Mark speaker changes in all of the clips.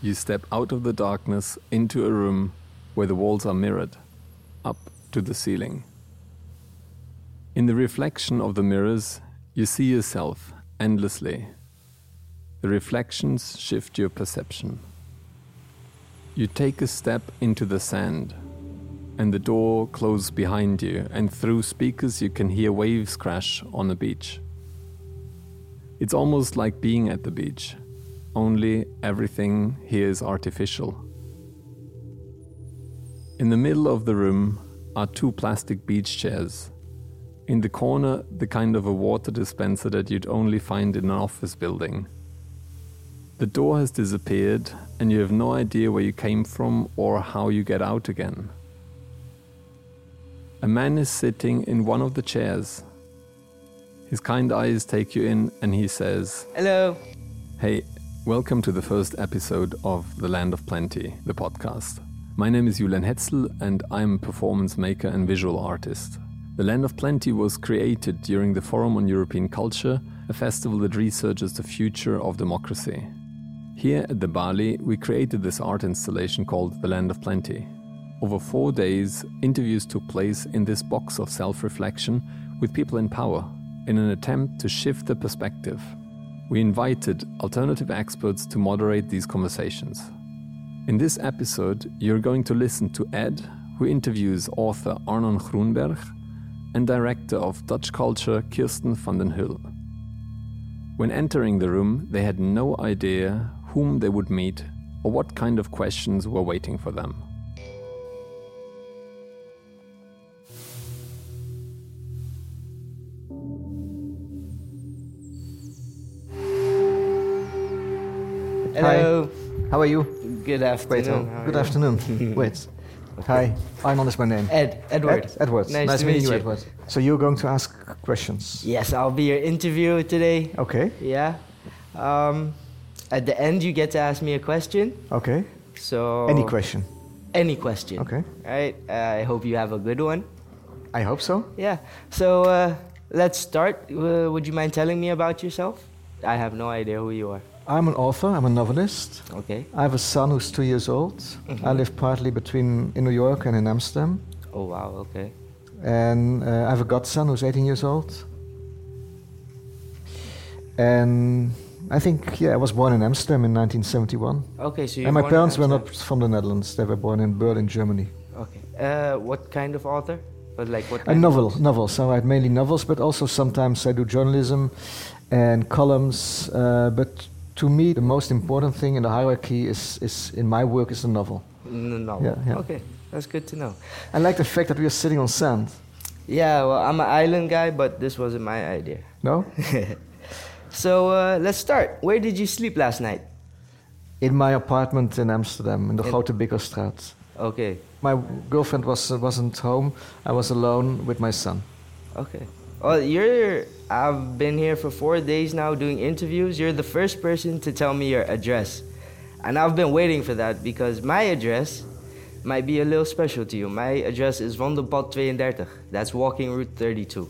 Speaker 1: You step out of the darkness into a room where the walls are mirrored, up to the ceiling. In the reflection of the mirrors, you see yourself endlessly. The reflections shift your perception. You take a step into the sand, and the door closes behind you, and through speakers, you can hear waves crash on the beach. It's almost like being at the beach, only everything here is artificial. In the middle of the room are two plastic beach chairs. In the corner, the kind of a water dispenser that you'd only find in an office building. The door has disappeared, and you have no idea where you came from or how you get out again. A man is sitting in one of the chairs. His kind eyes take you in, and he says,
Speaker 2: Hello.
Speaker 1: Hey, welcome to the first episode of The Land of Plenty, the podcast. My name is Julian Hetzel, and I'm a performance maker and visual artist. The Land of Plenty was created during the Forum on European Culture, a festival that researches the future of democracy. Here at the Bali, we created this art installation called The Land of Plenty. Over four days, interviews took place in this box of self reflection with people in power in an attempt to shift the perspective. We invited alternative experts to moderate these conversations. In this episode, you're going to listen to Ed, who interviews author Arnon Groenberg and director of Dutch culture Kirsten van den Hull. When entering the room, they had no idea whom they would meet or what kind of questions were waiting for them.
Speaker 2: Hello.
Speaker 3: How are you?
Speaker 2: Good
Speaker 3: Wait,
Speaker 2: afternoon.
Speaker 3: oh,
Speaker 2: How are
Speaker 3: good
Speaker 2: you?
Speaker 3: afternoon. Wait. Hi, Arnold is my name.
Speaker 2: Ed, Edward.
Speaker 3: Ed- Edwards.
Speaker 2: Nice, to meet
Speaker 3: meeting
Speaker 2: you.
Speaker 3: you, Edward. So you're going to ask questions.
Speaker 2: Yes, I'll be your interviewer today.
Speaker 3: Okay,
Speaker 2: Yeah. Um, at the end, you get to ask me a question.
Speaker 3: okay.
Speaker 2: So
Speaker 3: Any question.
Speaker 2: Any question.
Speaker 3: Okay.
Speaker 2: Right. I hope you have a good one.
Speaker 3: I hope so.
Speaker 2: Yeah. So uh, let's start. Uh, would you mind telling me about yourself? I have no idea who you are.
Speaker 3: I'm an author, I'm a novelist.
Speaker 2: Okay.
Speaker 3: I have a son who's two years old.
Speaker 2: Mm-hmm.
Speaker 3: I live partly between in New York and in Amsterdam.
Speaker 2: Oh wow. Okay.
Speaker 3: And uh, I have a godson who's 18 years old. And I think, yeah, I was born in Amsterdam in 1971.
Speaker 2: Okay. So you.
Speaker 3: And my parents were not from the Netherlands, they were born in Berlin, Germany.
Speaker 2: Okay. Uh, what kind of author? But like what?
Speaker 3: A
Speaker 2: kind of-
Speaker 3: novel, novel. So I write mainly novels, but also sometimes I do journalism and columns. Uh, but to me, the most important thing in the hierarchy is, is in my work is the novel.
Speaker 2: N- No.
Speaker 3: Yeah, yeah.
Speaker 2: Okay, that's good to know.
Speaker 3: I like the fact that we are sitting on sand.
Speaker 2: Yeah, well, I'm an island guy, but this wasn't my idea.
Speaker 3: No,
Speaker 2: So uh, let's start. Where did you sleep last night?
Speaker 3: in my apartment in Amsterdam, in the
Speaker 2: In-
Speaker 3: Grote Bikkelstraat.
Speaker 2: Okay,
Speaker 3: My girlfriend was uh, wasn't home. I was alone with my son.
Speaker 2: okay. Well, you're. I've been here for four days now doing interviews. You're the first person to tell me your address, and I've been waiting for that because my address might be a little special to you. My address is Wandelpad 32. That's walking route 32.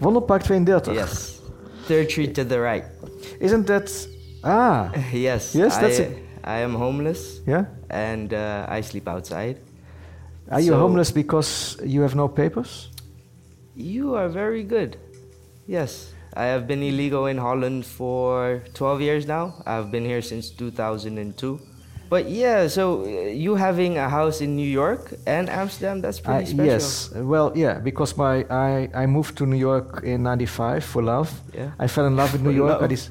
Speaker 3: Wonderpark 32.
Speaker 2: Yes, third street to the right.
Speaker 3: Isn't that ah?
Speaker 2: Yes.
Speaker 3: Yes, that's
Speaker 2: I,
Speaker 3: it.
Speaker 2: I am homeless.
Speaker 3: Yeah.
Speaker 2: and uh, I sleep outside.
Speaker 3: Are you
Speaker 2: So-
Speaker 3: homeless because you have no papers?
Speaker 2: You are very good. Yes, I have been illegal in Holland for 12 years now. I've been here since 2002. But yeah, so uh, you having a house in New York and Amsterdam, that's
Speaker 3: I-
Speaker 2: pretty special.
Speaker 3: Yes, well, yeah, because my I, I moved to New York in '95 for love.
Speaker 2: Yeah.
Speaker 3: I fell in love with New
Speaker 2: For
Speaker 3: York. I
Speaker 2: love.
Speaker 3: dec-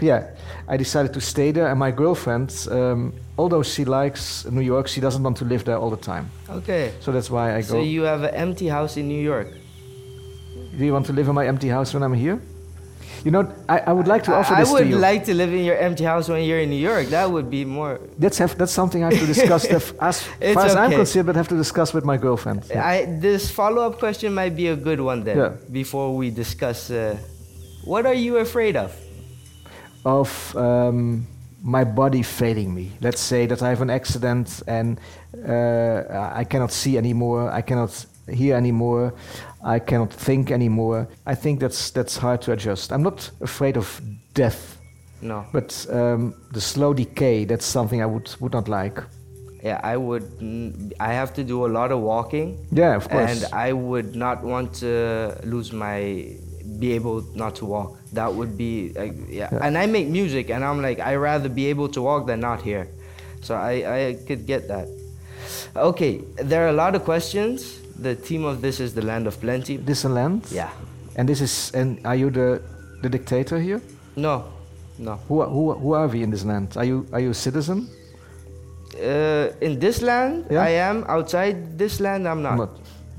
Speaker 3: yeah, I decided to stay there, and my girlfriend, um, although she likes New York, she doesn't want to live there all the time.
Speaker 2: Okay.
Speaker 3: So that's why I go.
Speaker 2: So you have an empty house in New York.
Speaker 3: Do you want to live in my empty house when I'm here? You know, I, I would like to offer
Speaker 2: I, I
Speaker 3: this
Speaker 2: would
Speaker 3: to you.
Speaker 2: like to live in your empty house when you're in New York. That would be more.
Speaker 3: that's have, that's something I have to discuss. as
Speaker 2: It's
Speaker 3: far as I'm
Speaker 2: okay.
Speaker 3: concerned, but have to discuss with my girlfriend.
Speaker 2: I, this follow-up question might be a good one then.
Speaker 3: Yeah.
Speaker 2: Before we discuss, uh, what are you afraid of?
Speaker 3: of um, my body failing me. Let's say that I have an accident and uh, I cannot see anymore, I cannot hear anymore, I cannot think anymore. I think that's that's hard to adjust. I'm not afraid of death.
Speaker 2: No.
Speaker 3: But um, the slow decay, that's something I would, would not like.
Speaker 2: Yeah, I would. n- I have to do a lot of walking,
Speaker 3: Yeah, of course.
Speaker 2: and I would not want to lose my. Be able not to walk. That would be like, yeah.
Speaker 3: Yeah.
Speaker 2: And I make music, and I'm like, I rather be able to walk than not here. So I I could get that. Okay, there are a lot of questions. The theme of this is the land of plenty.
Speaker 3: this and land?
Speaker 2: Yeah.
Speaker 3: And this is and are you the the dictator here?
Speaker 2: No, no.
Speaker 3: Who are- who are- who are we in this land? Are you are you a citizen?
Speaker 2: Uh, in this land,
Speaker 3: Yeah.
Speaker 2: I am. Outside this land, I'm not.
Speaker 3: Not.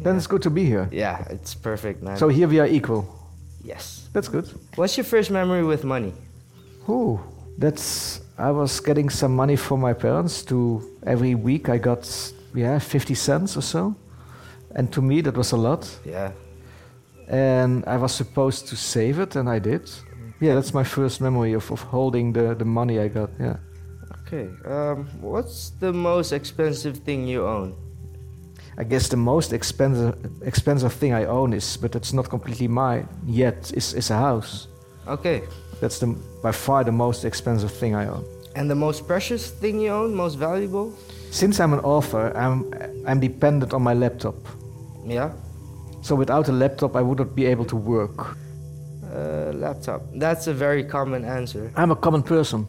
Speaker 3: Then it's good to be here.
Speaker 2: Yeah, it's perfect, man.
Speaker 3: So here we are equal.
Speaker 2: yes.
Speaker 3: That's good.
Speaker 2: What's your first memory with money?
Speaker 3: Oh, that's. I was getting some money from my parents. To every week I got yeah fifty cents or so, and to me that was a lot.
Speaker 2: Yeah.
Speaker 3: And I was supposed to save it, and I did. Yeah, that's my first memory of, of holding the, the money I got. Yeah.
Speaker 2: Okay. Um, what's the most expensive thing you own?
Speaker 3: I guess the most expensive expensive thing I own is, but it's not completely mine yet. Is is a house.
Speaker 2: Okay.
Speaker 3: That's the by far the most expensive thing I own.
Speaker 2: And the most precious thing you own, most valuable?
Speaker 3: Since I'm an author, I'm I'm dependent on my laptop.
Speaker 2: Yeah.
Speaker 3: So without a laptop, I would not be able to work.
Speaker 2: Uh, laptop. That's a very common answer.
Speaker 3: I'm a common person.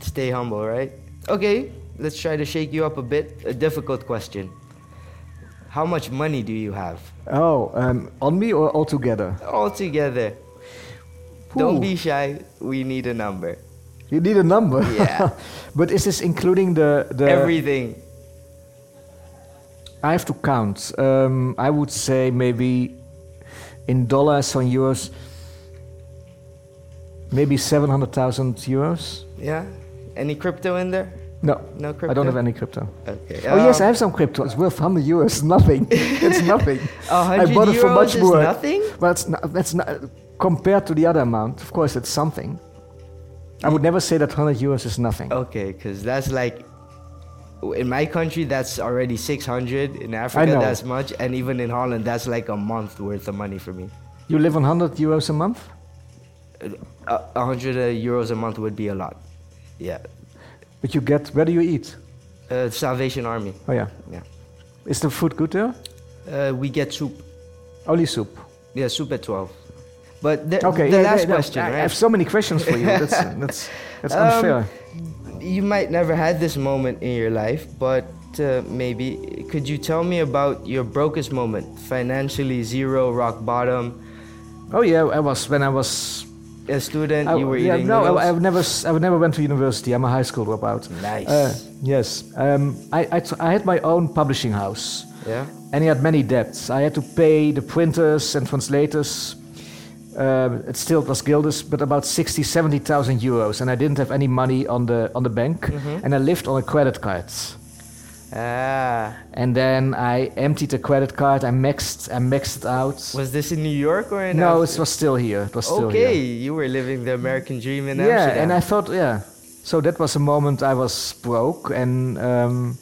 Speaker 2: Stay humble, right? Okay. Let's try to shake you up a bit. A difficult question. How much money do you have?
Speaker 3: Oh, um, on me or altogether?
Speaker 2: All together. Don't
Speaker 3: Ooh.
Speaker 2: be shy. We need a number.
Speaker 3: You need a number.
Speaker 2: Yeah.
Speaker 3: but is this including the the?
Speaker 2: Everything.
Speaker 3: I have to count. Um, I would say maybe in dollars or euros, maybe 700,000 euros.
Speaker 2: Yeah. Any crypto in there?
Speaker 3: No,
Speaker 2: No
Speaker 3: I don't
Speaker 2: crypto?
Speaker 3: have any crypto.
Speaker 2: Okay.
Speaker 3: oh, yes, I
Speaker 2: um,
Speaker 3: have some crypto. It's worth 100 euros. Nothing. it's nothing.
Speaker 2: A
Speaker 3: I
Speaker 2: hundred
Speaker 3: bought it for
Speaker 2: euros
Speaker 3: much
Speaker 2: is
Speaker 3: more.
Speaker 2: nothing?
Speaker 3: Well, it's not, that's not, compared to the other amount, of course, it's something. I would never say that 100 euros is nothing.
Speaker 2: Okay, because that's like, in my country, that's already 600. In
Speaker 3: I
Speaker 2: Africa,
Speaker 3: know.
Speaker 2: that's much. And even in Holland, that's like a month worth of money for me.
Speaker 3: You live on 100 euros a month?
Speaker 2: Uh, A 100 uh, euros a month would be a lot. Yeah.
Speaker 3: But you get, where do you eat?
Speaker 2: Uh, Salvation Army.
Speaker 3: Oh, yeah.
Speaker 2: Yeah.
Speaker 3: Is the food good there?
Speaker 2: Uh, we get soup.
Speaker 3: Only soup.
Speaker 2: Yeah, soup at 12. But the,
Speaker 3: Okay,
Speaker 2: the
Speaker 3: yeah,
Speaker 2: last
Speaker 3: yeah, no,
Speaker 2: question,
Speaker 3: I, I
Speaker 2: right?
Speaker 3: have so many questions for you. That's that's that's
Speaker 2: Um,
Speaker 3: unfair.
Speaker 2: you might never had this moment in your life, but uh, maybe could you tell me about your brokest moment? Financially zero, rock bottom.
Speaker 3: Oh yeah, I was when I was.
Speaker 2: A student,
Speaker 3: I,
Speaker 2: you were
Speaker 3: yeah,
Speaker 2: eating
Speaker 3: no, I,
Speaker 2: noodles?
Speaker 3: I've never, s- I've never went to university. I'm a high school dropout.
Speaker 2: Nice.
Speaker 3: Uh, yes, um, I, I, t- I had my own publishing house,
Speaker 2: yeah.
Speaker 3: and I had many debts. I had to pay the printers and translators. Uh, it still was guilders, but about 60, 70,000 euros, and I didn't have any money on the on the bank,
Speaker 2: Mm-hmm.
Speaker 3: and I lived on a credit card.
Speaker 2: Ah,
Speaker 3: And then I emptied the credit card. I maxed, I maxed it out.
Speaker 2: was this in New York or in?
Speaker 3: no,
Speaker 2: Amsterdam?
Speaker 3: it was still here. It was still
Speaker 2: okay.
Speaker 3: here.
Speaker 2: You were living the American dream in
Speaker 3: yeah,
Speaker 2: Amsterdam.
Speaker 3: and I thought, yeah. So that was a moment I was broke, and um,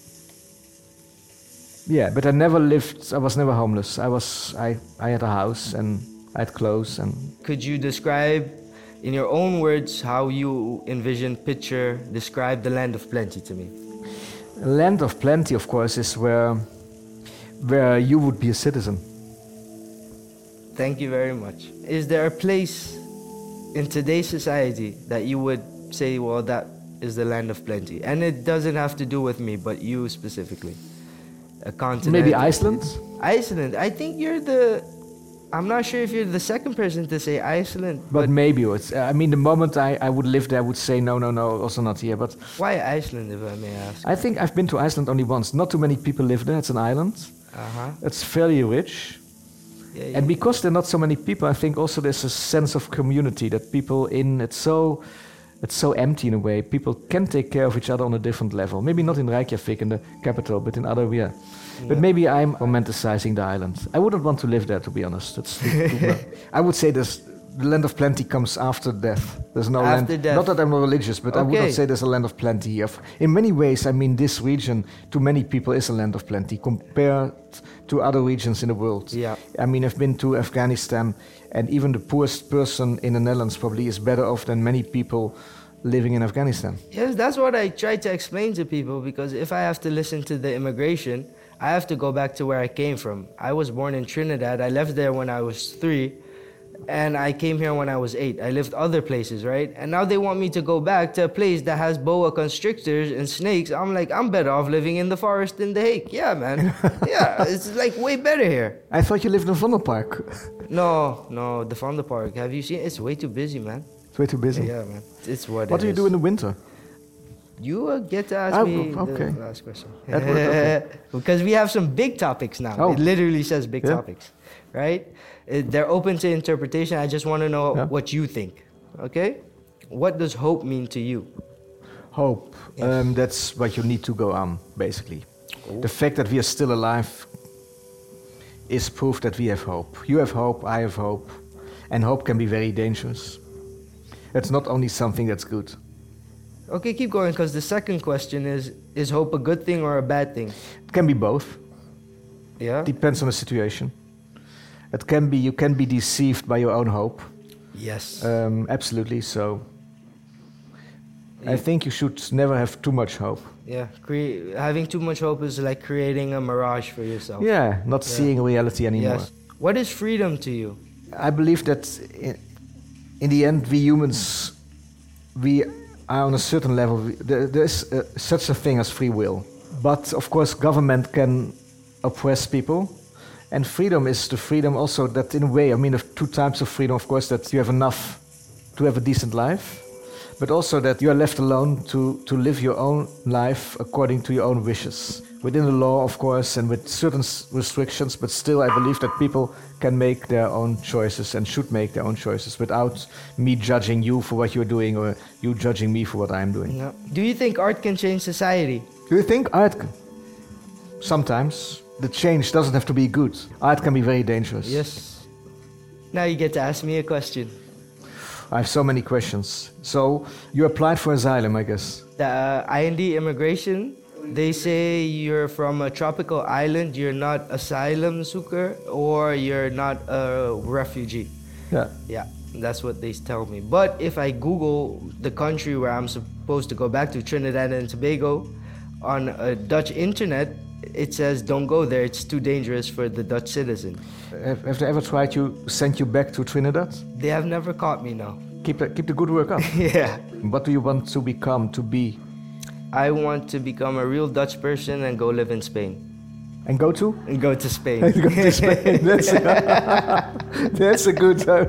Speaker 3: yeah, but I never lived. I was never homeless. I was, I, I had a house and I had clothes, and
Speaker 2: Could you describe, in your own words, how you envision, picture, describe the land of plenty to me?
Speaker 3: land of plenty, of course, is where, where you would be a citizen.
Speaker 2: Thank you very much. Is there a place in today's society that you would say, well, that is the land of plenty? And it doesn't have to do with me, but you specifically. A continent.
Speaker 3: Maybe Iceland.
Speaker 2: Iceland. I think you're the. I'm not sure if you're the second person to say Iceland.
Speaker 3: But, maybe it's. I mean, the moment I, I would live there, I would say no, no, no, also not here. But
Speaker 2: Why Iceland, if I may ask?
Speaker 3: I think I've been to Iceland only once. Not too many people live there. It's an island.
Speaker 2: Uh huh.
Speaker 3: It's fairly rich.
Speaker 2: Yeah, yeah.
Speaker 3: And because there are not so many people, I think also there's a sense of community that people in it's so it's so empty in a way. People can take care of each other on a different level. Maybe not in Reykjavik in the capital, but in other yeah. But maybe I'm romanticizing the island. I wouldn't want to live there to be honest. It's too- too- I would say there's the land of plenty comes after death. There's no
Speaker 2: After
Speaker 3: land.
Speaker 2: death.
Speaker 3: Not that I'm not religious, but I would
Speaker 2: Okay.
Speaker 3: not say there's a land of plenty. here. In many ways, I mean, this region to many people is a land of plenty compared to other regions in the world.
Speaker 2: Yeah.
Speaker 3: I mean, I've been to Afghanistan, and even the poorest person in the Netherlands probably is better off than many people living in Afghanistan.
Speaker 2: Yes, that's what I try to explain to people because if I have to listen to the immigration, I have to go back to where I came from. I was born in Trinidad. I left there when I was three, and I came here when I was eight. I lived other places, right? And now they want me to go back to a place that has boa constrictors and snakes. I'm like, I'm better off living in the forest in The Hague. Yeah, man. yeah, it's like way better here.
Speaker 3: I thought you lived in Vondelpark.
Speaker 2: No, no, the Fonda Park. Have you seen? It's way too busy, man.
Speaker 3: it's way too busy.
Speaker 2: Yeah, man. It's what.
Speaker 3: What
Speaker 2: it
Speaker 3: do you
Speaker 2: is.
Speaker 3: do in the winter?
Speaker 2: You uh, get to ask
Speaker 3: Oh,
Speaker 2: me
Speaker 3: okay.
Speaker 2: the last question.
Speaker 3: Edward, okay.
Speaker 2: because we have some big topics now.
Speaker 3: Oh.
Speaker 2: It literally says big
Speaker 3: Yeah.
Speaker 2: topics, right? Uh, they're open to interpretation. I just want to know
Speaker 3: Yeah.
Speaker 2: what you think, okay? What does hope mean to you?
Speaker 3: Hope.
Speaker 2: Yes. Oh.
Speaker 3: Um, that's what you need to go on, basically. The fact that we are still alive is proof that we have hope. You have hope, I have hope. And hope can be very dangerous. It's not only something that's good.
Speaker 2: Okay, keep going because the second question is Is hope a good thing or a bad thing?
Speaker 3: It can be both.
Speaker 2: Yeah?
Speaker 3: Depends on the situation. It can be you can be deceived by your own hope.
Speaker 2: Yes.
Speaker 3: Um, absolutely. So I
Speaker 2: Yeah.
Speaker 3: think you should never have too much hope.
Speaker 2: yeah. Crea- having too much hope is like creating a mirage for yourself.
Speaker 3: Yeah, not
Speaker 2: Yeah.
Speaker 3: seeing reality anymore.
Speaker 2: Yes. What is freedom to you?
Speaker 3: I believe that in, in the end, we humans, we are on a certain level. we- There, there is uh, such a thing as free will, but of course, government can oppress people, and freedom is the freedom also that, in a way, I mean, of two types of freedom. Of course, that you have enough to have a decent life, but also that you are left alone to to live your own life according to your own wishes, within the law, of course, and with certain s- restrictions. But still, I believe that people can make their own choices and should make their own choices without me judging you for what you're doing or you judging me for what I'm doing.
Speaker 2: No. Do you think art can change society?
Speaker 3: Do you think art? c- Sometimes the change doesn't have to be good. Art can be very dangerous.
Speaker 2: Yes. Now you get to ask me a question.
Speaker 3: I have so many questions. So you applied for asylum, I guess.
Speaker 2: The uh, IND immigration, they say you're from a tropical island, you're not asylum seeker, or you're not a refugee.
Speaker 3: Yeah.
Speaker 2: Yeah, that's what they tell me. But if I Google the country where I'm supposed to go back to, Trinidad and Tobago, on a Dutch internet, it says don't go there, it's too dangerous for the Dutch citizen.
Speaker 3: Have, have they ever tried to send you back to Trinidad?
Speaker 2: They have never caught me now.
Speaker 3: Keep, the- keep the good work up.
Speaker 2: yeah.
Speaker 3: what do you want to become, to be,
Speaker 2: I want to become a real Dutch person and go live in Spain.
Speaker 3: and go to?
Speaker 2: And go to Spain.
Speaker 3: Go to Spain. That's a, that's a good. uh,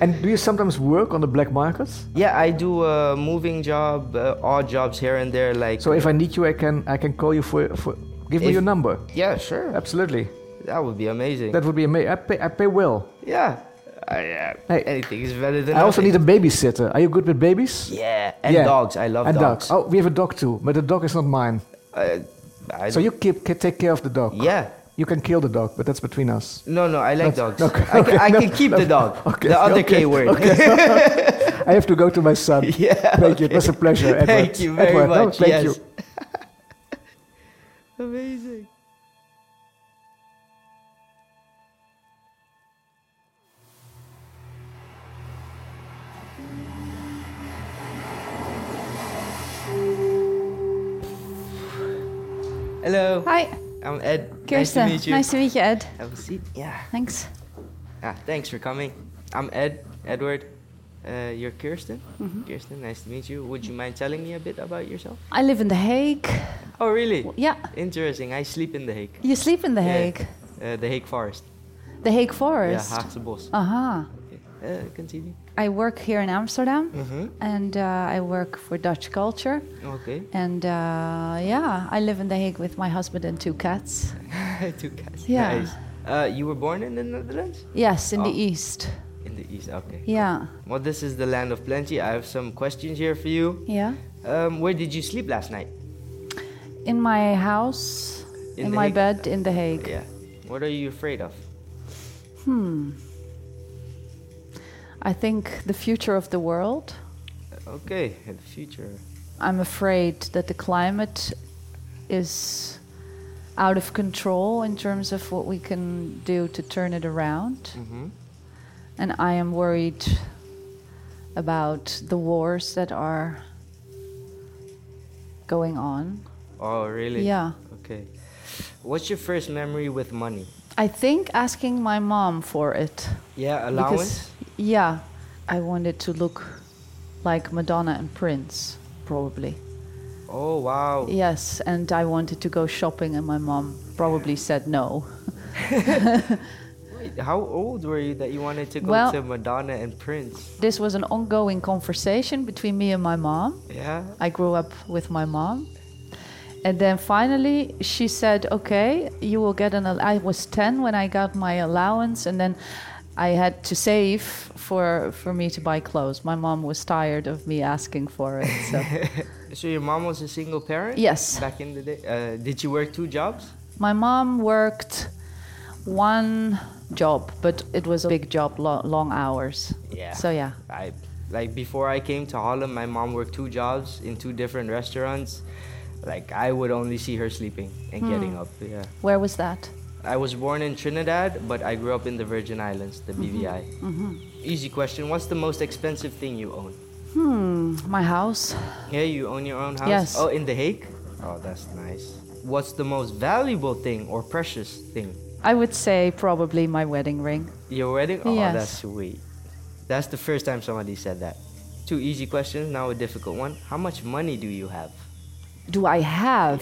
Speaker 3: and do you sometimes work on the black market?
Speaker 2: yeah, I do a moving job, uh, odd jobs here and there. Like,
Speaker 3: So if I need you, I can I can call you for for. Give me
Speaker 2: If-
Speaker 3: your number.
Speaker 2: yeah, sure.
Speaker 3: Absolutely.
Speaker 2: That would be amazing.
Speaker 3: That would be amazing. I pay, I pay well.
Speaker 2: yeah. I, uh,
Speaker 3: Hey.
Speaker 2: anything is better than
Speaker 3: I also
Speaker 2: nothing.
Speaker 3: need a babysitter. Are you good with babies?
Speaker 2: Yeah, and
Speaker 3: Yeah.
Speaker 2: dogs. I love
Speaker 3: and
Speaker 2: dogs.
Speaker 3: Oh, we have a dog too, but the dog is not mine.
Speaker 2: Uh, I
Speaker 3: So you keep, ca- take care of the dog.
Speaker 2: Yeah.
Speaker 3: You can kill the dog, but that's between us.
Speaker 2: No, no, I like dogs.
Speaker 3: okay,
Speaker 2: I, can, I
Speaker 3: no,
Speaker 2: can keep the dog.
Speaker 3: okay,
Speaker 2: the other
Speaker 3: okay,
Speaker 2: K word.
Speaker 3: I have to go to my son.
Speaker 2: Yeah,
Speaker 3: Thank you. It was a pleasure, Edward.
Speaker 2: Thank you very
Speaker 3: Edward, no,
Speaker 2: much.
Speaker 3: thank
Speaker 2: yes.
Speaker 3: you.
Speaker 2: amazing. Hello,
Speaker 4: Hi,
Speaker 2: I'm Ed.
Speaker 4: Kirsten.
Speaker 2: Nice to meet you.
Speaker 4: meet you, Ed.
Speaker 2: Have a seat. Yeah.
Speaker 4: Thanks.
Speaker 2: Ah, thanks for coming. I'm Ed, Edward. Uh, you're Kirsten. Kirsten, nice to meet you. Would you mind telling me a bit about yourself?
Speaker 4: I live in The Hague.
Speaker 2: Oh, really?
Speaker 4: Yeah,
Speaker 2: Interesting. I sleep in The Hague,
Speaker 4: you sleep in The
Speaker 2: Yeah.
Speaker 4: Hague.
Speaker 2: uh, The Hague Forest.
Speaker 4: The Hague Forest.
Speaker 2: Yeah, Haagse Bos.
Speaker 4: Aha.
Speaker 2: Okay. Uh, continue.
Speaker 4: I work here in Amsterdam
Speaker 2: Mhm.
Speaker 4: and uh, I work for Dutch culture.
Speaker 2: Okay.
Speaker 4: And uh, yeah, I live in The Hague with my husband and two cats.
Speaker 2: Two cats.
Speaker 4: Yeah.
Speaker 2: Nice. Uh, you were born in the Netherlands?
Speaker 4: Yes, in the
Speaker 2: Oh.
Speaker 4: east.
Speaker 2: In the East. Okay.
Speaker 4: Yeah.
Speaker 2: Well, this is the land of plenty. I have some questions here for you.
Speaker 4: Yeah.
Speaker 2: Um, where did you sleep last night?
Speaker 4: In my house,
Speaker 2: In
Speaker 4: in,
Speaker 2: The
Speaker 4: my
Speaker 2: Hague?
Speaker 4: bed in The Hague.
Speaker 2: Yeah. What are you afraid of?
Speaker 4: Hmm. I think the future of the world.
Speaker 2: Uh, Okay, the future.
Speaker 4: I'm afraid that the climate is out of control in terms of what we can do to turn it around. And I am worried about the wars that are going on.
Speaker 2: Oh, really?
Speaker 4: Yeah.
Speaker 2: Okay. What's your first memory with money?
Speaker 4: I think asking my mom for it.
Speaker 2: Yeah,
Speaker 4: Because,
Speaker 2: allowance.
Speaker 4: yeah, I wanted to look like Madonna and Prince, probably.
Speaker 2: oh wow.
Speaker 4: Yes, and I wanted to go shopping, and my mom probably said no.
Speaker 2: Wait, how old were you that you wanted to go
Speaker 4: Well-
Speaker 2: to Madonna and Prince?
Speaker 4: This was an ongoing conversation between me and my mom.
Speaker 2: Yeah.
Speaker 4: I grew up with my mom. And then finally, she said, Okay, you will get an. al- I was 10 when I got my allowance, and then I had to save for, for me to buy clothes. My mom was tired of me asking for it. So.
Speaker 2: So your mom was a single parent?
Speaker 4: Yes.
Speaker 2: Back in the day, uh, did she work two jobs?
Speaker 4: My mom worked one job, but it was a big job, lo- long hours.
Speaker 2: Yeah.
Speaker 4: So yeah.
Speaker 2: I like before I came to Harlem, my mom worked two jobs in two different restaurants. Like I would only see her sleeping and
Speaker 4: Hmm.
Speaker 2: getting up. Yeah.
Speaker 4: Where was that?
Speaker 2: I was born in Trinidad, but I grew up in the Virgin Islands, the
Speaker 4: Mm-hmm.
Speaker 2: BVI. Easy question. What's the most expensive thing you own?
Speaker 4: Hmm, my house.
Speaker 2: Yeah, you own your own house?
Speaker 4: Yes.
Speaker 2: Oh, in The Hague? Oh, that's nice. What's the most valuable thing or precious thing?
Speaker 4: I would say probably my wedding ring.
Speaker 2: Your wedding? Oh,
Speaker 4: Yes.
Speaker 2: that's sweet. That's the first time somebody said that. Two easy questions, now a difficult one. How much money do you have?
Speaker 4: Do I have?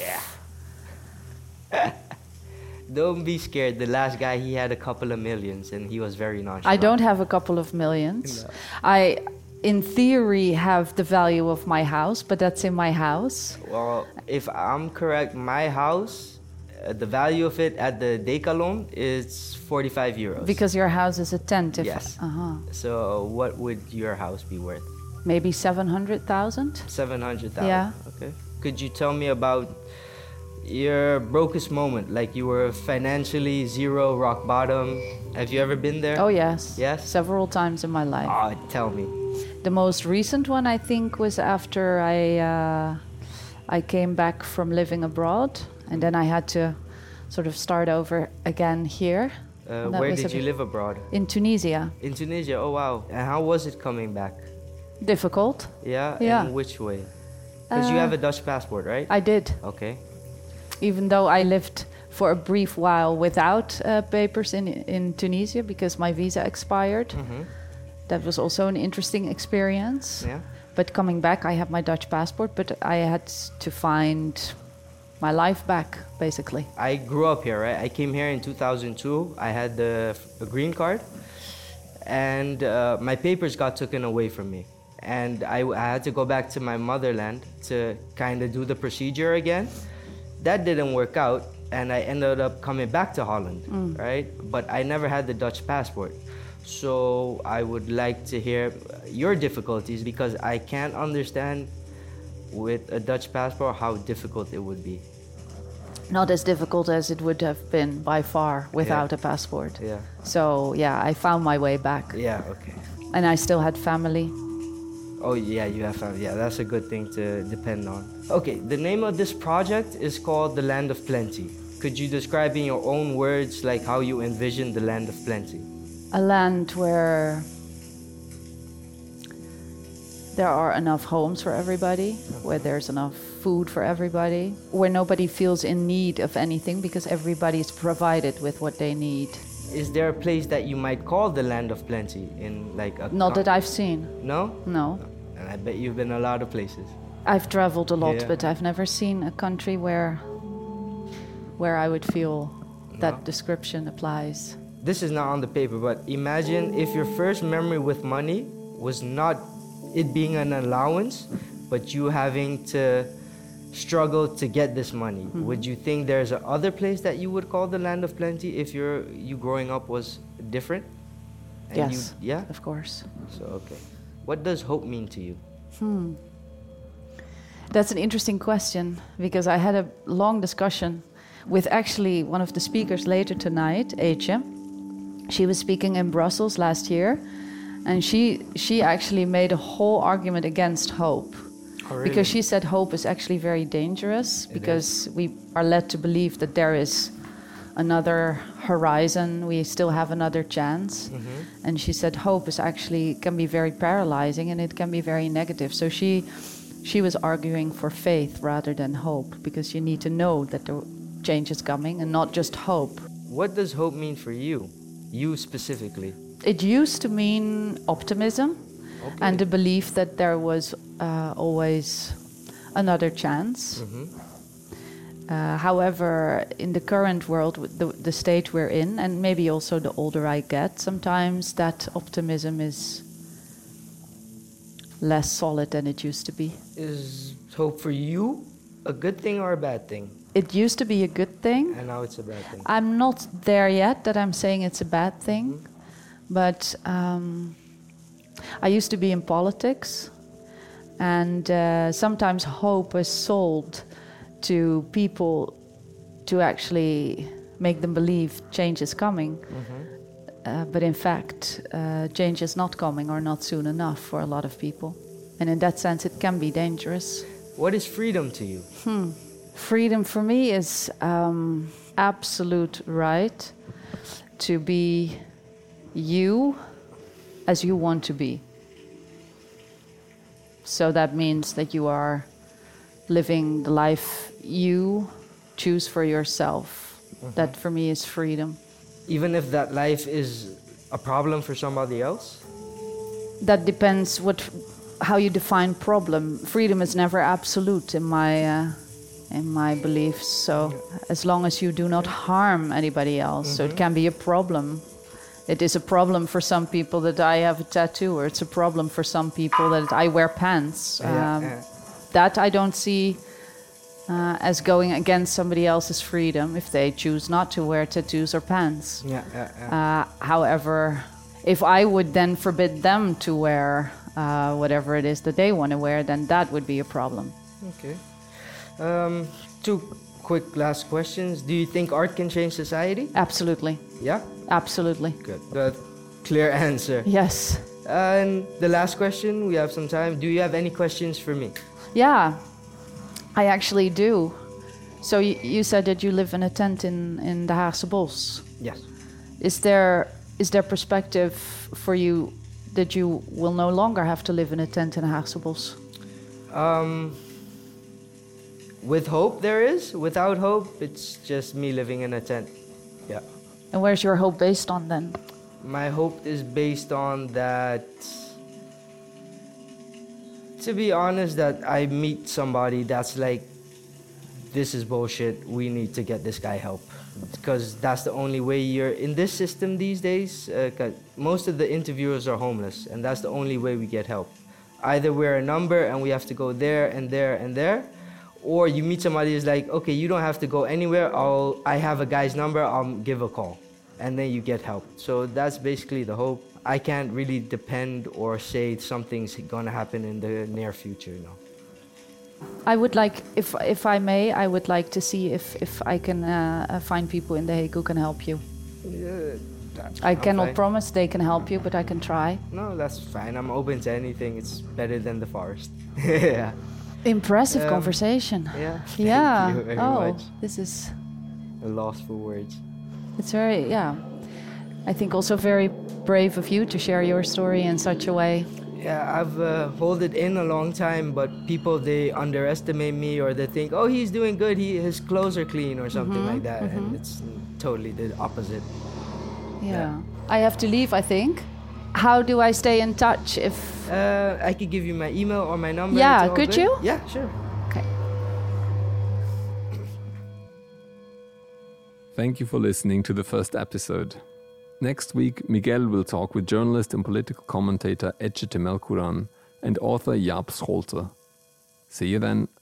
Speaker 2: Don't be scared. The last guy, he had a couple of millions and he was very nonchalant.
Speaker 4: I don't have a couple of millions. I, in theory, have the value of my house, but that's in my house.
Speaker 2: Well, if I'm correct, my house, uh, the value of it at the Decalon is 45 euros.
Speaker 4: Because your house is a tent. If,
Speaker 2: Yes.
Speaker 4: Uh-huh.
Speaker 2: So, what would your house be worth?
Speaker 4: Maybe 700,000?
Speaker 2: 700,000.
Speaker 4: Yeah.
Speaker 2: Okay. Could you tell me about your brokest moment? Like you were financially zero, rock bottom. Have you ever been there?
Speaker 4: Oh, yes.
Speaker 2: Yes?
Speaker 4: Several times in my life.
Speaker 2: Ah, tell me.
Speaker 4: The most recent one, I think, was after I uh, I came back from living abroad, and then I had to sort of start over again here.
Speaker 2: Uh,
Speaker 4: And that
Speaker 2: where
Speaker 4: was a
Speaker 2: did you
Speaker 4: bit-
Speaker 2: live abroad?
Speaker 4: In Tunisia.
Speaker 2: In Tunisia. Oh, wow. And how was it coming back?
Speaker 4: Difficult.
Speaker 2: Yeah?
Speaker 4: Yeah.
Speaker 2: In which way? Because you
Speaker 4: Uh,
Speaker 2: have a Dutch passport, right?
Speaker 4: I did,
Speaker 2: okay.
Speaker 4: even though I lived for a brief while without uh, papers in in Tunisia because my visa expired. That was also an interesting experience.
Speaker 2: Mm-hmm. Yeah.
Speaker 4: But coming back, I had my Dutch passport, but I had to find my life back, basically.
Speaker 2: I grew up here, right? I came here in 2002. I had the a green card, and uh, my papers got taken away from me. And I, I had to go back to my motherland to kind of do the procedure again. That didn't work out, and I ended up coming back to Holland, right? But I never had the Dutch passport. So I would like to hear your difficulties because I can't understand with a Dutch passport how difficult it would be.
Speaker 4: not as difficult as it would have been by far without a passport.
Speaker 2: Yeah.
Speaker 4: So yeah, I found my way back,
Speaker 2: Yeah, okay.
Speaker 4: and I still had family.
Speaker 2: Oh yeah, you have found. Yeah, that's a good thing to depend on. Okay, the name of this project is called the Land of Plenty. Could you describe in your own words like how you envision the Land of Plenty?
Speaker 4: A land where there are enough homes for everybody, where there's enough food for everybody, where nobody feels in need of anything because everybody is provided with what they need.
Speaker 2: Is there a place that you might call the Land of Plenty in like a
Speaker 4: Not that I've seen.
Speaker 2: No?
Speaker 4: No.
Speaker 2: And I bet you've been a lot of places.
Speaker 4: I've traveled a lot,
Speaker 2: Yeah.
Speaker 4: but I've never seen a country where where I would feel that description applies.
Speaker 2: This is not on the paper, but imagine if your first memory with money was not it being an allowance, but you having to struggle to get this money. Would you think there's a other place that you would call the land of plenty if your you growing up was different? And you-
Speaker 4: yes.
Speaker 2: yeah.
Speaker 4: Of course.
Speaker 2: So okay. What does hope mean to you?
Speaker 4: That's an interesting question because I had a long discussion with actually one of the speakers later tonight, Eetje. She was speaking in Brussels last year, and she she actually made a whole argument against hope because she said hope is actually very dangerous because we are led to believe that there is another horizon we still have another chance and she said hope is actually can be very paralyzing and it can be very negative so she she was arguing for faith rather than hope because you need to know that the change is coming and not just hope
Speaker 2: What does hope mean for you? You specifically.
Speaker 4: it used to mean optimism and the belief that there was uh, always another chance. Uh, however, in the current world, with the, the state we're in, and maybe also the older I get, sometimes that optimism is less solid than it used to be.
Speaker 2: Is hope for you a good thing or a bad thing?
Speaker 4: It used to be a good thing.
Speaker 2: And now it's a bad thing.
Speaker 4: I'm not there yet that I'm saying it's a bad thing, but um, I used to be in politics, and uh, sometimes hope is sold to people to actually make them believe change is coming. Uh, but in fact, uh, change is not coming or not soon enough for a lot of people. And in that sense, it can be dangerous
Speaker 2: What is freedom to you?
Speaker 4: freedom for me is um, absolute right to be you as you want to be. So that means that you are living the life you choose for yourself. That for me is freedom.
Speaker 2: Even if that life is a problem for somebody else?
Speaker 4: that depends what how you define problem freedom is never absolute in my uh, in my beliefs so as long as you do not harm anybody else so
Speaker 2: Mm-hmm.
Speaker 4: it can be a problem it is a problem for some people that i have a tattoo or it's a problem for some people that i wear pants
Speaker 2: Yeah,
Speaker 4: um,
Speaker 2: yeah.
Speaker 4: that i don't see uh, as going against somebody else's freedom if they choose not to wear tattoos or pants
Speaker 2: Yeah, yeah, yeah.
Speaker 4: uh, however, if I would then forbid them to wear uh, whatever it is that they want to wear, then that would be a problem.
Speaker 2: Okay. Um, two quick last questions. Do you think art can change society?
Speaker 4: Absolutely.
Speaker 2: Yeah?
Speaker 4: Absolutely.
Speaker 2: Good. Good. Clear answer.
Speaker 4: Yes.
Speaker 2: And the last question, we have some time. Do you have any questions for me?
Speaker 4: Yeah, I actually do. So you, you said that you live in a tent in, in the Haagse Bos.
Speaker 2: Yes.
Speaker 4: Is there is there perspective for you that you will no longer have to live in a tent in the Haagse Bos?
Speaker 2: Um, with hope, there is. Without hope, it's just me living in a tent. Yeah.
Speaker 4: And where's your hope based on then?
Speaker 2: My hope is based on that. To be honest, that I meet somebody that's like, this is bullshit. We need to get this guy help. Because that's the only way you're in this system these days. Uh, 'cause most of the interviewers are homeless, and that's the only way we get help. Either we're a number and we have to go there and there and there, or you meet somebody who's like, okay, you don't have to go anywhere. I'll, I have a guy's number. I'll give a call, and then you get help. So that's basically the hope. I can't really depend or say something's gonna happen in the near future. No.
Speaker 4: I would like, if if I may, I would like to see if if I can uh, uh, find people in The Hague who can help you. I cannot
Speaker 2: Okay.
Speaker 4: promise they can help you, but I can try.
Speaker 2: No, that's fine. I'm open to anything. It's better than the forest. yeah.
Speaker 4: Impressive
Speaker 2: Um,
Speaker 4: conversation.
Speaker 2: Yeah. Thank
Speaker 4: yeah.
Speaker 2: you very
Speaker 4: oh,
Speaker 2: much.
Speaker 4: this is
Speaker 2: I'm lost for words.
Speaker 4: it's very yeah. I think also very brave of you to share your story in such a way.
Speaker 2: Yeah, I've uh, hold it in a long time, but people they underestimate me or they think, oh, he's doing good. He his clothes are clean or something
Speaker 4: Mm-hmm.
Speaker 2: like that, and it's totally the opposite.
Speaker 4: Yeah. I have to leave. I think. How do I stay in touch if?
Speaker 2: Uh, I could give you my email or my number.
Speaker 4: Yeah,
Speaker 2: it's all
Speaker 4: could
Speaker 2: good.
Speaker 4: you?
Speaker 2: Yeah, sure.
Speaker 4: Okay.
Speaker 1: Thank you for listening to the first episode. Next week, Miguel will talk with journalist and political commentator Ecete Melkuran and author Jaap Scholte. See you then.